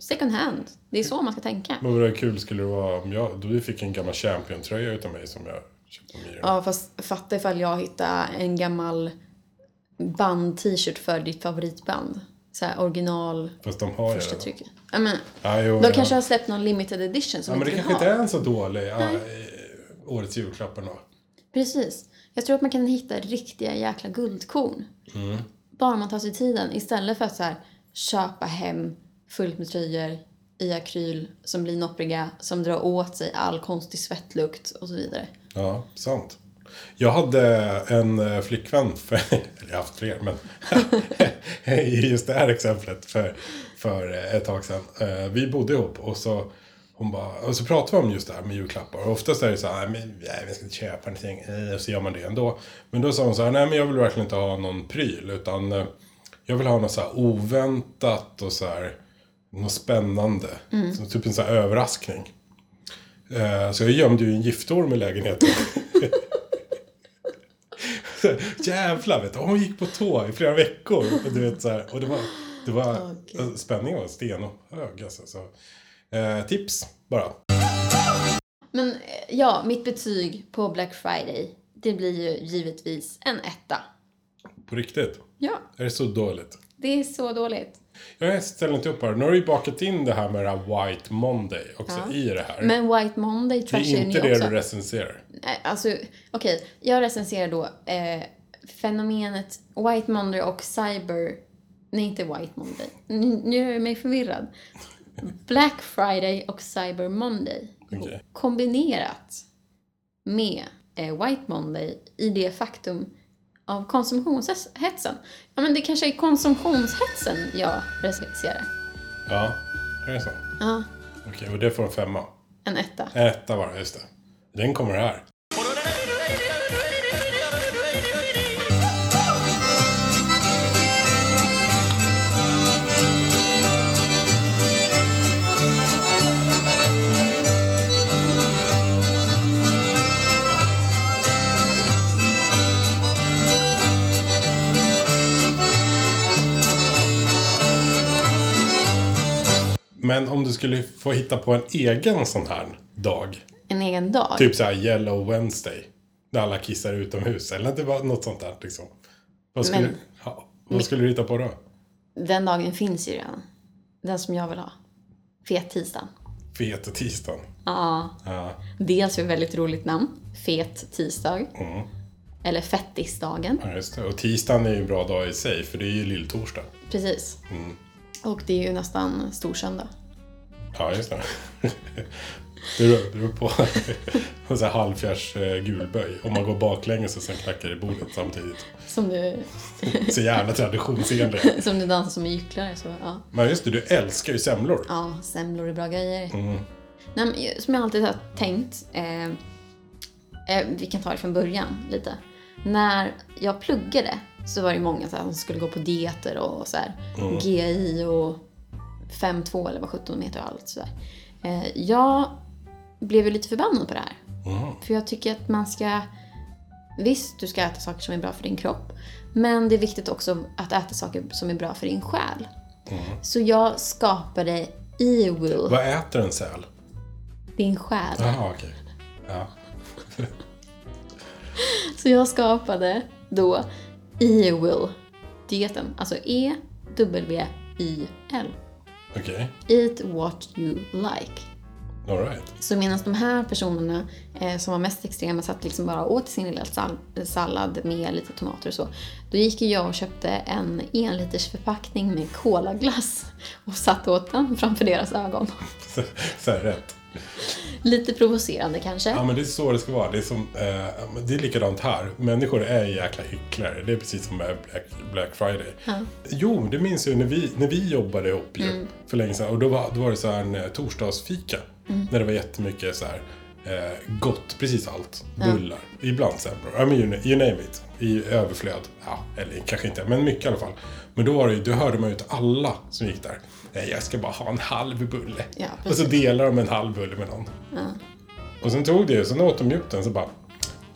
Speaker 3: second hand. Det är så man ska tänka.
Speaker 1: Men vad kul skulle det vara om jag, du fick en gammal Champion-tröja utav mig som jag köpte på Miro.
Speaker 3: Ja, fast fatta ifall jag hittar en gammal band-t-shirt för ditt favoritband. Så här original
Speaker 1: Fast de har ju
Speaker 3: första
Speaker 1: den.
Speaker 3: trycket. Ja, men,
Speaker 1: Ja, jo,
Speaker 3: de
Speaker 1: ja.
Speaker 3: kanske har släppt någon limited edition som
Speaker 1: ja, men
Speaker 3: inte
Speaker 1: det
Speaker 3: vi
Speaker 1: kanske
Speaker 3: har.
Speaker 1: inte är en så dålig ja, eh, årets julklapp ändå.
Speaker 3: Precis. Jag tror att man kan hitta riktiga jäkla guldkorn.
Speaker 1: Mm.
Speaker 3: Bara man tar sig tiden istället för att så här, köpa hem fullt med tröjor i akryl som blir noppriga, som drar åt sig all konstig svettlukt och så vidare.
Speaker 1: Ja, sant. Jag hade en eh, flickvän, för, [laughs] eller jag har haft fler, men [laughs] i just det här exemplet för, för ett tag sedan. Eh, Vi bodde ihop och så, hon bara, och så pratade vi om just det här med julklappar. Och oftast är det så här, "Nej, men, nej, vi ska inte köpa någonting, Eh, och så gör man det ändå. Men då sa hon så här, nej men jag vill verkligen inte ha någon pryl, utan eh, jag vill ha något så här oväntat och så här, något spännande. Så, typ en så här överraskning. Eh, Så jag gömde ju en giftorm i lägenheten. [laughs] Så, Jävlar vet du, hon gick på tå i flera veckor. Och, du vet, så här, och det var, det var eh,
Speaker 3: Gud.
Speaker 1: spänningen var stenhög alltså. Så, eh, tips bara.
Speaker 3: Men eh, ja, mitt betyg på Black Friday, det blir ju givetvis en etta.
Speaker 1: På riktigt.
Speaker 3: Ja,
Speaker 1: Är det så dåligt?
Speaker 3: det är så dåligt.
Speaker 1: Jag ställer inte upp här. Nu har du ju bakat in det här med det här White Monday också
Speaker 3: Ja.
Speaker 1: i det här.
Speaker 3: Men White Monday
Speaker 1: Mm. det
Speaker 3: trashar ju
Speaker 1: är
Speaker 3: ni
Speaker 1: inte det
Speaker 3: också.
Speaker 1: du recenserar.
Speaker 3: Nej, Alltså, okej. Jag recenserar då eh, fenomenet White Monday och Cyber... Nej, inte White Monday. Nu, nu gör jag mig förvirrad. Black Friday och Cyber Monday.
Speaker 1: Okej.
Speaker 3: Kombinerat med eh, White Monday i det faktum av konsumtionshetsen. Ja, men det kanske är konsumtionshetsen jag recenserar.
Speaker 1: Ja, är det så?
Speaker 3: Ja,
Speaker 1: Okej, och det får en femma.
Speaker 3: en etta.
Speaker 1: En etta bara, just det. Den kommer här. Men om du skulle få hitta på en egen sån här dag.
Speaker 3: En egen dag.
Speaker 1: Typ så här Yellow Wednesday. När alla kissar utomhus. Eller det var något sånt där liksom. Vad skulle,
Speaker 3: Men-
Speaker 1: ja, vad skulle du hitta på då?
Speaker 3: Den dagen finns ju redan. Den som jag vill ha. Fet tisdagen.
Speaker 1: Fete tisdagen.
Speaker 3: Ja.
Speaker 1: Ja.
Speaker 3: Dels för ett väldigt roligt namn. Fet tisdag. Eller fettisdagen.
Speaker 1: Ja, just det. Och tisdagen är ju en bra dag i sig. För det är ju lilltorsdag.
Speaker 3: Precis. Och det är ju nästan storsöndag.
Speaker 1: Ja, just det. [laughs] Det beror- beror på. [laughs] En sån här halvfjärs eh, gulböj. Om man går baklänges och sen knackar i bordet samtidigt.
Speaker 3: Som du,
Speaker 1: Så jävla traditionsenligt.
Speaker 3: som du dansar som en gycklare. Så, ja.
Speaker 1: Men just det, du älskar ju semlor.
Speaker 3: ja, semlor är bra grejer. Nej, men, som jag alltid har tänkt. Eh, eh, vi kan ta det från början lite. När jag pluggade så var det många så här, som skulle gå på dieter och så här, GI och 5-2 eller vad 17 heter och allt sådär. Eh, jag blev ju lite förbannad på det här. För jag tycker att man ska... Visst, du ska äta saker som är bra för din kropp. Men det är viktigt också att äta saker som är bra för din själ. Så jag skapade Ewill,
Speaker 1: Vad äter en säl?
Speaker 3: din själ.
Speaker 1: Jaha, Ah, okej. Ja.
Speaker 3: Så jag skapade då Ewill-dieten. Alltså E-W-I-L.
Speaker 1: Okej.
Speaker 3: Eat what you like.
Speaker 1: All right. [laughs]
Speaker 3: Så medan de här personerna eh, som var mest extrema satt liksom bara och åt sin lilla sal- sallad med lite tomater och så. Då gick ju jag och köpte en enliters förpackning med kolaglass och satt åt den framför deras ögon.
Speaker 1: Så, så här rätt.
Speaker 3: Lite provocerande kanske.
Speaker 1: Ja, men det är så det ska vara. Det är, som, eh, det är likadant här. Människor är jäkla hycklare. Det är precis som med Black, Black Friday. Jo, det minns jag när vi, när vi
Speaker 3: Mm.
Speaker 1: jobbade
Speaker 3: Mm.
Speaker 1: ihop ju, för länge sedan. Och då var, då var det så här en eh, torsdagsfika. När det var jättemycket så här Eh, gott, precis allt. Bullar, ibland semlor. Ja, men you, na- you name it. I överflöd. Ja, eller kanske inte, men mycket i alla fall. Men då, var det, ju- då hörde man ju till alla som gick där. Nej, jag ska bara ha en halv bulle.
Speaker 3: Ja,
Speaker 1: och så delar de en halv bulle med någon. Och sen tog det ju, sen åt de upp den så bara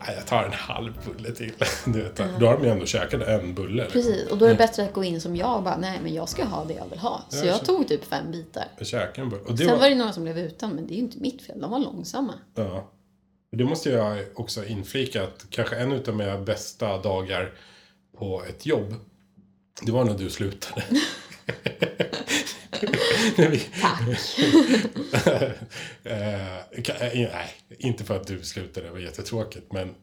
Speaker 1: Nej, jag tar en halv bulle till. [laughs] Du vet, Då har de ju ändå käkat en bulle. liksom.
Speaker 3: Precis, och då är det bättre att gå in som jag och bara, nej men jag ska ha det jag vill ha. Så
Speaker 1: Ja, så-
Speaker 3: jag tog typ fem bitar.
Speaker 1: Jag käkade en bulle. Och det
Speaker 3: Sen
Speaker 1: var,
Speaker 3: var det några som blev utan, men det är ju inte mitt fel. De var långsamma.
Speaker 1: Ja. Och Det måste jag också inflika att kanske en utav mina bästa dagar på ett jobb, det var när
Speaker 3: [laughs]
Speaker 1: du slutade. när vi,
Speaker 3: Tack!
Speaker 1: [laughs] eh, ka- eh, nej, inte för att du slutade, det var jättetråkigt, men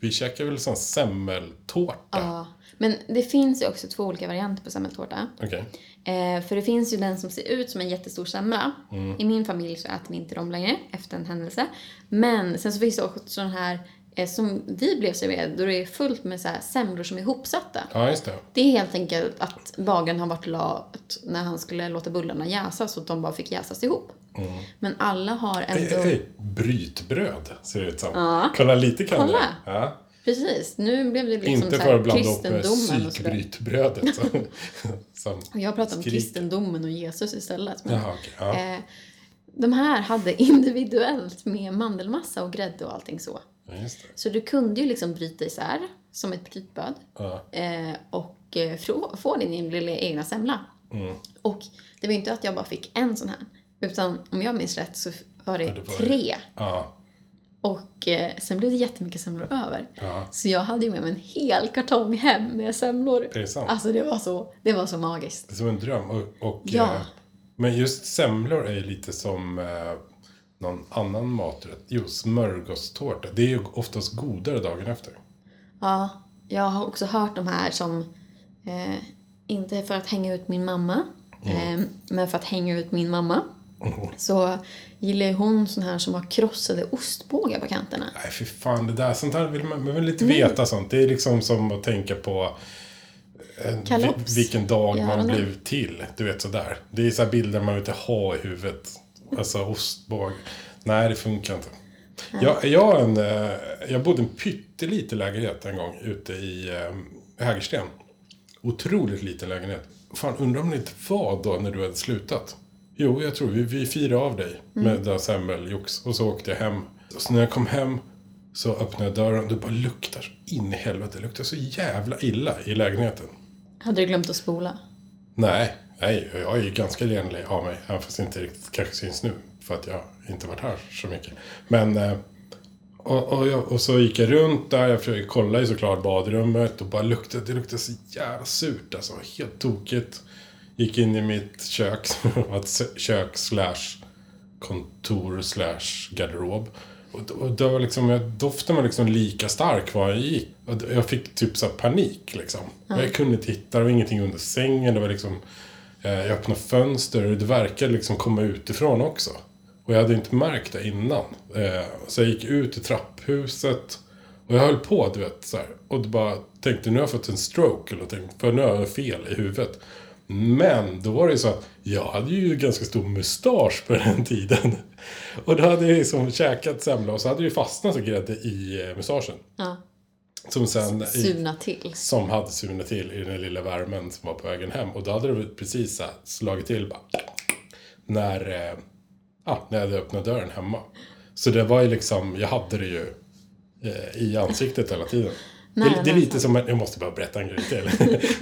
Speaker 1: vi käkade väl sån semmeltårta?
Speaker 3: ja. Men det finns ju också två olika varianter på semmeltårta.
Speaker 1: Okej.
Speaker 3: Eh, för det finns ju den som ser ut som en jättestor semla.
Speaker 1: Mm.
Speaker 3: I min familj så äter vi inte dem längre efter en händelse. Men sen så finns det också den här eh, som vi blev serverade då det är fullt med så här semlor som är ihopsatta.
Speaker 1: Ja, just det.
Speaker 3: Det är helt enkelt att bagaren har varit lat när han skulle låta bullarna jäsa så att de bara fick jäsas ihop.
Speaker 1: Mm.
Speaker 3: Men alla har
Speaker 1: Ej,
Speaker 3: ändå...
Speaker 1: ej, ej. Brytbröd ser det ut som.
Speaker 3: Ja.
Speaker 1: Kolla lite kan
Speaker 3: Kolla.
Speaker 1: du. Ja.
Speaker 3: Precis, nu blev det liksom
Speaker 1: Inte
Speaker 3: så
Speaker 1: för
Speaker 3: här
Speaker 1: att blanda upp med
Speaker 3: kristendomen och sådär. [laughs]
Speaker 1: psykbrytbrödet. som- som-
Speaker 3: Och jag pratar om
Speaker 1: Skriker.
Speaker 3: kristendomen och Jesus istället. Men,
Speaker 1: Jaha, okej. Ja.
Speaker 3: eh, de här hade [laughs] individuellt med mandelmassa och grädde och allting så.
Speaker 1: Ja, just det.
Speaker 3: Så du kunde ju liksom bryta isär, som ett brytböd,
Speaker 1: Ja.
Speaker 3: eh, och eh, få, få din lilla egna semla.
Speaker 1: Mm.
Speaker 3: Och det var ju inte att jag bara fick en sån här, utan om jag minns rätt så var det,
Speaker 1: Ja, det var
Speaker 3: tre.
Speaker 1: Ja.
Speaker 3: Och eh, sen blev det jättemycket semlor över.
Speaker 1: Ja.
Speaker 3: Så jag hade ju med mig en hel kartong hem med semlor.
Speaker 1: Är det sant?
Speaker 3: Alltså det var så, det var så magiskt.
Speaker 1: Det är som en dröm. Och, och,
Speaker 3: Ja.
Speaker 1: eh, men just semlor är ju lite som eh, någon annan maträtt. Jo, smörgåstårta. Det är ju oftast godare dagen efter.
Speaker 3: Ja, jag har också hört de här som, eh, inte för att hänga ut min mamma,
Speaker 1: Mm.
Speaker 3: eh, men för att hänga ut min mamma. Så gillar ju hon sån här som har krossade ostbågar på kanterna.
Speaker 1: Nej, fy fan. Det där, sånt här vill man, man vill inte veta sånt. Det är liksom som att tänka på en, vi,
Speaker 3: Kalops.
Speaker 1: vilken dag man
Speaker 3: Gärna.
Speaker 1: blev till. Du vet sådär. Det är så här bilder man vill inte ha i huvudet. Alltså ostbåg. Nej, det funkar inte. Jag, jag, har en, eh, jag bodde i en pytteliten lägenhet en gång ute i eh, Hägersten. Otroligt liten lägenhet. Fan, undrar om det inte var då när du hade slutat? Jo, jag tror vi, vi firade av dig med mm. semmeljox. Och så åkte jag hem. Och så när jag kom hem så öppnade jag dörren. Det bara luktar så in i helvete. Det luktar så jävla illa i lägenheten.
Speaker 3: Hade du glömt att spola?
Speaker 1: Nej, nej, jag är ju ganska renlig av mig. Även fast det inte riktigt kanske syns nu. För att jag inte varit här så mycket. Men... eh, Och, och, jag, och så gick jag runt där. Jag försökte kolla i såklart badrummet. Och bara luktade. Det luktade så jävla surt alltså. Helt tokigt. Gick in i mitt kök. [laughs] Som var ett s- kök slash kontor slash garderob. Och, då- och det var liksom, jag- doften var liksom lika stark var jag gick. Och d- jag fick typ så här panik liksom. Jag kunde inte hitta, det var ingenting under sängen. Det var liksom, eh, jag öppnade fönster och det verkade liksom komma utifrån också. Och jag hade inte märkt det innan. Eh, så jag gick ut i trapphuset. Och jag höll på, du vet, så här. Och det bara tänkte, nu har jag fått en stroke eller någonting. För nu har jag fel i huvudet. Men då var det ju så att jag hade ju ganska stor mustasch på den tiden. [laughs] Och då hade jag liksom käkat semla och så hade det ju fastnat så grädde i eh, mustaschen.
Speaker 3: Ja.
Speaker 1: Som sen... i-
Speaker 3: Surna till.
Speaker 1: som hade surnat till i den lilla värmen som var på vägen hem. Och då hade det väl precis så här slagit till bara, när, eh, ja, när jag hade öppnat dörren hemma. Så det var ju liksom, jag hade det ju eh, i ansiktet hela tiden.
Speaker 3: Nej,
Speaker 1: det, det är
Speaker 3: men
Speaker 1: lite som, jag måste bara berätta en grej till. [laughs]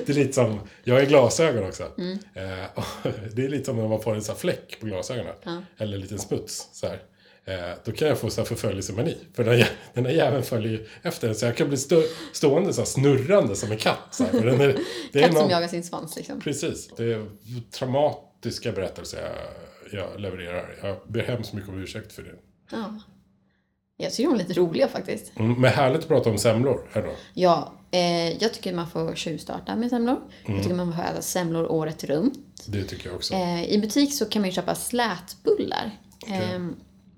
Speaker 1: det är lite som, jag har glasögon också.
Speaker 3: Mm.
Speaker 1: Eh, och [laughs] det är lite som när man får en sån här fläck på glasögonen. Eller en liten smuts. Så här. Eh, då kan jag få så här förföljelsemani. För den, här jä- den här jäveln följer ju efter en. Så jag kan bli stå, stående så här, snurrande som en katt. Så här. För
Speaker 3: [laughs]
Speaker 1: den är, det är
Speaker 3: Katt
Speaker 1: någon-
Speaker 3: som jagar sin svans liksom.
Speaker 1: Precis. Det är traumatiska berättelser jag, jag levererar. Jag ber hemskt mycket om ursäkt för det.
Speaker 3: Ja. Jag tycker de är lite roliga faktiskt.
Speaker 1: Mm, Men härligt att prata om semlor här då.
Speaker 3: Ja, eh, jag tycker man får tjuvstarta med semlor.
Speaker 1: Mm.
Speaker 3: Jag tycker man får äta semlor året runt.
Speaker 1: Det tycker jag också.
Speaker 3: Eh, I butik så kan man ju köpa slätbullar. Ehm,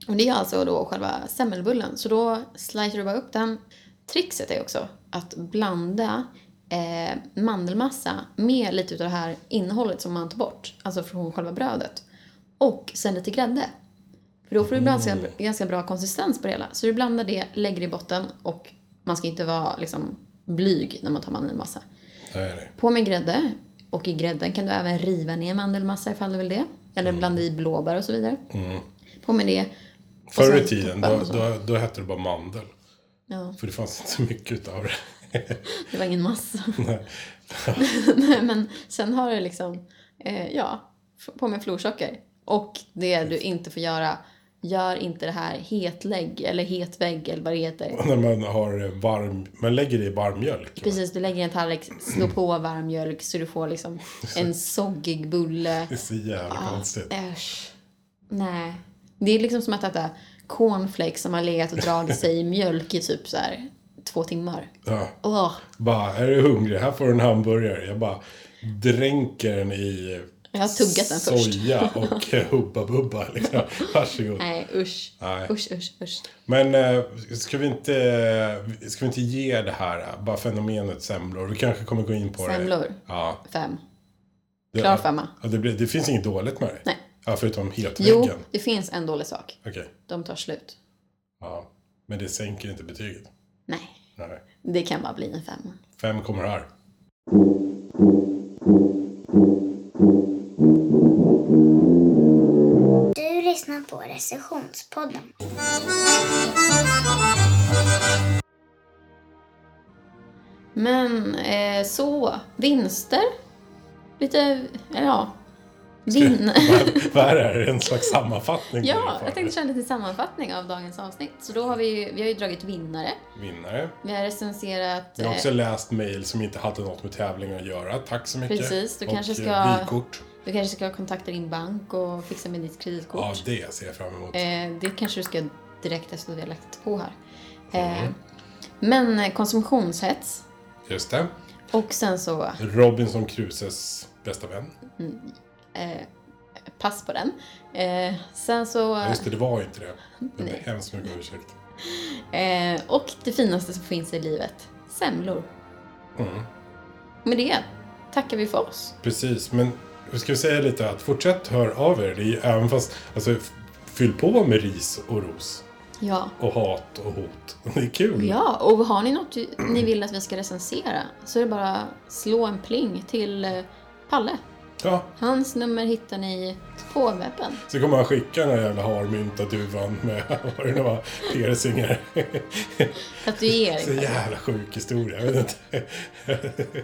Speaker 3: och det är alltså då själva semmelbullen. Så då slicer du bara upp den. Trixet är också att blanda eh, mandelmassa med lite av det här innehållet som man tar bort. Alltså från själva brödet. Och sen lite grädde. För då får du ganska, ganska bra konsistens på det hela. Så du blandar det, lägger det i botten och man ska inte vara liksom blyg när man tar mandelmassa.
Speaker 1: Nej, nej.
Speaker 3: På med grädde. Och i grädden kan du även riva ner mandelmassa ifall du vill det. Eller blanda i blåbär och så vidare. På med det. Och
Speaker 1: Förr i
Speaker 3: sen
Speaker 1: tiden,
Speaker 3: toppen
Speaker 1: då,
Speaker 3: och så.
Speaker 1: då, då hette det bara mandel.
Speaker 3: Ja,
Speaker 1: För det fanns inte så mycket utav det. [laughs]
Speaker 3: det var ingen massa.
Speaker 1: Nej.
Speaker 3: [laughs] Nej, men sen har du liksom, eh, ja, f- på med florsocker. Och det du inte får göra, gör inte det här hetlägg eller hetvägg eller vad det heter.
Speaker 1: Och När man har eh, varm, man lägger det i varm mjölk.
Speaker 3: Precis, du lägger i en tallrik, slå på varm mjölk så du får liksom en soggig bulle.
Speaker 1: Det är så jävla konstigt.
Speaker 3: Äsch. Nej. Det är liksom som att äta cornflakes som har legat och dragit sig i mjölk i typ så här två timmar.
Speaker 1: Ja.
Speaker 3: Åh,
Speaker 1: Bara, är du hungrig? Här får du en hamburgare. Jag bara dränker den i
Speaker 3: jag har tuggat den först.
Speaker 1: soja
Speaker 3: [laughs]
Speaker 1: och eh, Hubba Bubba. Liksom. Varsågod.
Speaker 3: Nej, usch.
Speaker 1: Nej.
Speaker 3: Usch, usch, usch.
Speaker 1: Men eh, ska vi, inte, ska vi inte ge det här eh, bara fenomenet semlor? Vi kanske kommer gå in på det.
Speaker 3: Semlor.
Speaker 1: Ja.
Speaker 3: Fem.
Speaker 1: Det,
Speaker 3: Klar femma.
Speaker 1: Ja, det, blir, det finns inget dåligt med det.
Speaker 3: Nej.
Speaker 1: Ja, förutom
Speaker 3: Jo,
Speaker 1: hetväggen.
Speaker 3: det finns en dålig sak.
Speaker 1: Okej.
Speaker 3: De tar slut.
Speaker 1: Ja. Men det sänker inte betyget.
Speaker 3: Nej,
Speaker 1: Nej.
Speaker 3: det kan bara bli en femma.
Speaker 1: Fem kommer här. [laughs]
Speaker 4: Du lyssnar på Recessionspodden.
Speaker 3: Men eh, så, vinster. Lite, ja, vinn.
Speaker 1: Vad- Vad är det här? Är det En slags sammanfattning?
Speaker 3: Ja, jag tänkte köra en liten sammanfattning av dagens avsnitt. Så då har vi ju, vi har ju dragit vinnare.
Speaker 1: Vinnare.
Speaker 3: Vi har recenserat...
Speaker 1: Jag har också
Speaker 3: eh,
Speaker 1: läst mejl som inte hade något med tävlingen att göra. Tack så mycket.
Speaker 3: Precis, du kanske
Speaker 1: och eh,
Speaker 3: ska-
Speaker 1: vykort.
Speaker 3: Du kanske ska kontakta din bank och fixa med ditt kreditkort.
Speaker 1: Ja, det ser jag fram emot.
Speaker 3: Eh, det kanske du ska göra direkt efter att vi har lagt på här. Eh, Men eh, konsumtionshets.
Speaker 1: Just det.
Speaker 3: Och sen så,
Speaker 1: Robinson Crusoes bästa vän.
Speaker 3: pass på den. Eh, sen så...
Speaker 1: Ja, just det, det var inte det. Jag ber
Speaker 3: Nej.
Speaker 1: hemskt mycket om ursäkt.
Speaker 3: Eh, och det finaste som finns i livet, semlor.
Speaker 1: Mm.
Speaker 3: Med det tackar vi för oss.
Speaker 1: Precis, men vi ska säga lite att fortsätt hör av er. Det är, även fast, alltså, f- fyll på med ris och ros.
Speaker 3: Ja.
Speaker 1: Och hat och hot. [laughs] Det är kul.
Speaker 3: Ja, och har ni något ni vill att vi ska recensera så är det bara att slå en pling till eh, Palle.
Speaker 1: Ja,
Speaker 3: Hans nummer hittar ni på webben.
Speaker 1: så kommer han skicka den här jävla harmynta duvan med [laughs] vad det nu var, piercingar. Så
Speaker 3: Tatuering.
Speaker 1: jävla sjuk historia. Jag vet inte.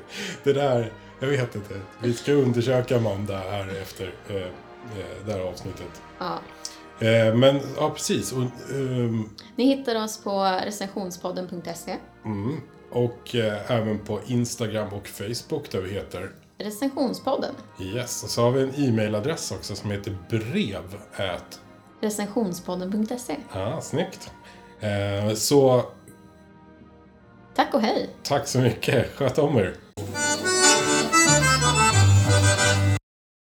Speaker 1: [laughs] Det där, jag vet inte. Vi ska undersöka Amanda här efter eh, eh, det här avsnittet.
Speaker 3: Ja.
Speaker 1: Eh, men ja, precis. Och, ehm,
Speaker 3: Ni hittar oss på recensionspodden.se.
Speaker 1: mm, och eh, även på Instagram och Facebook där vi heter
Speaker 3: Recensionspodden.
Speaker 1: Yes. Och så har vi en e-mailadress också som heter brev. At,
Speaker 3: Recensionspodden.se.
Speaker 1: ah, snyggt. Eh, så
Speaker 3: Tack och hej!
Speaker 1: tack så mycket. Sköt om er.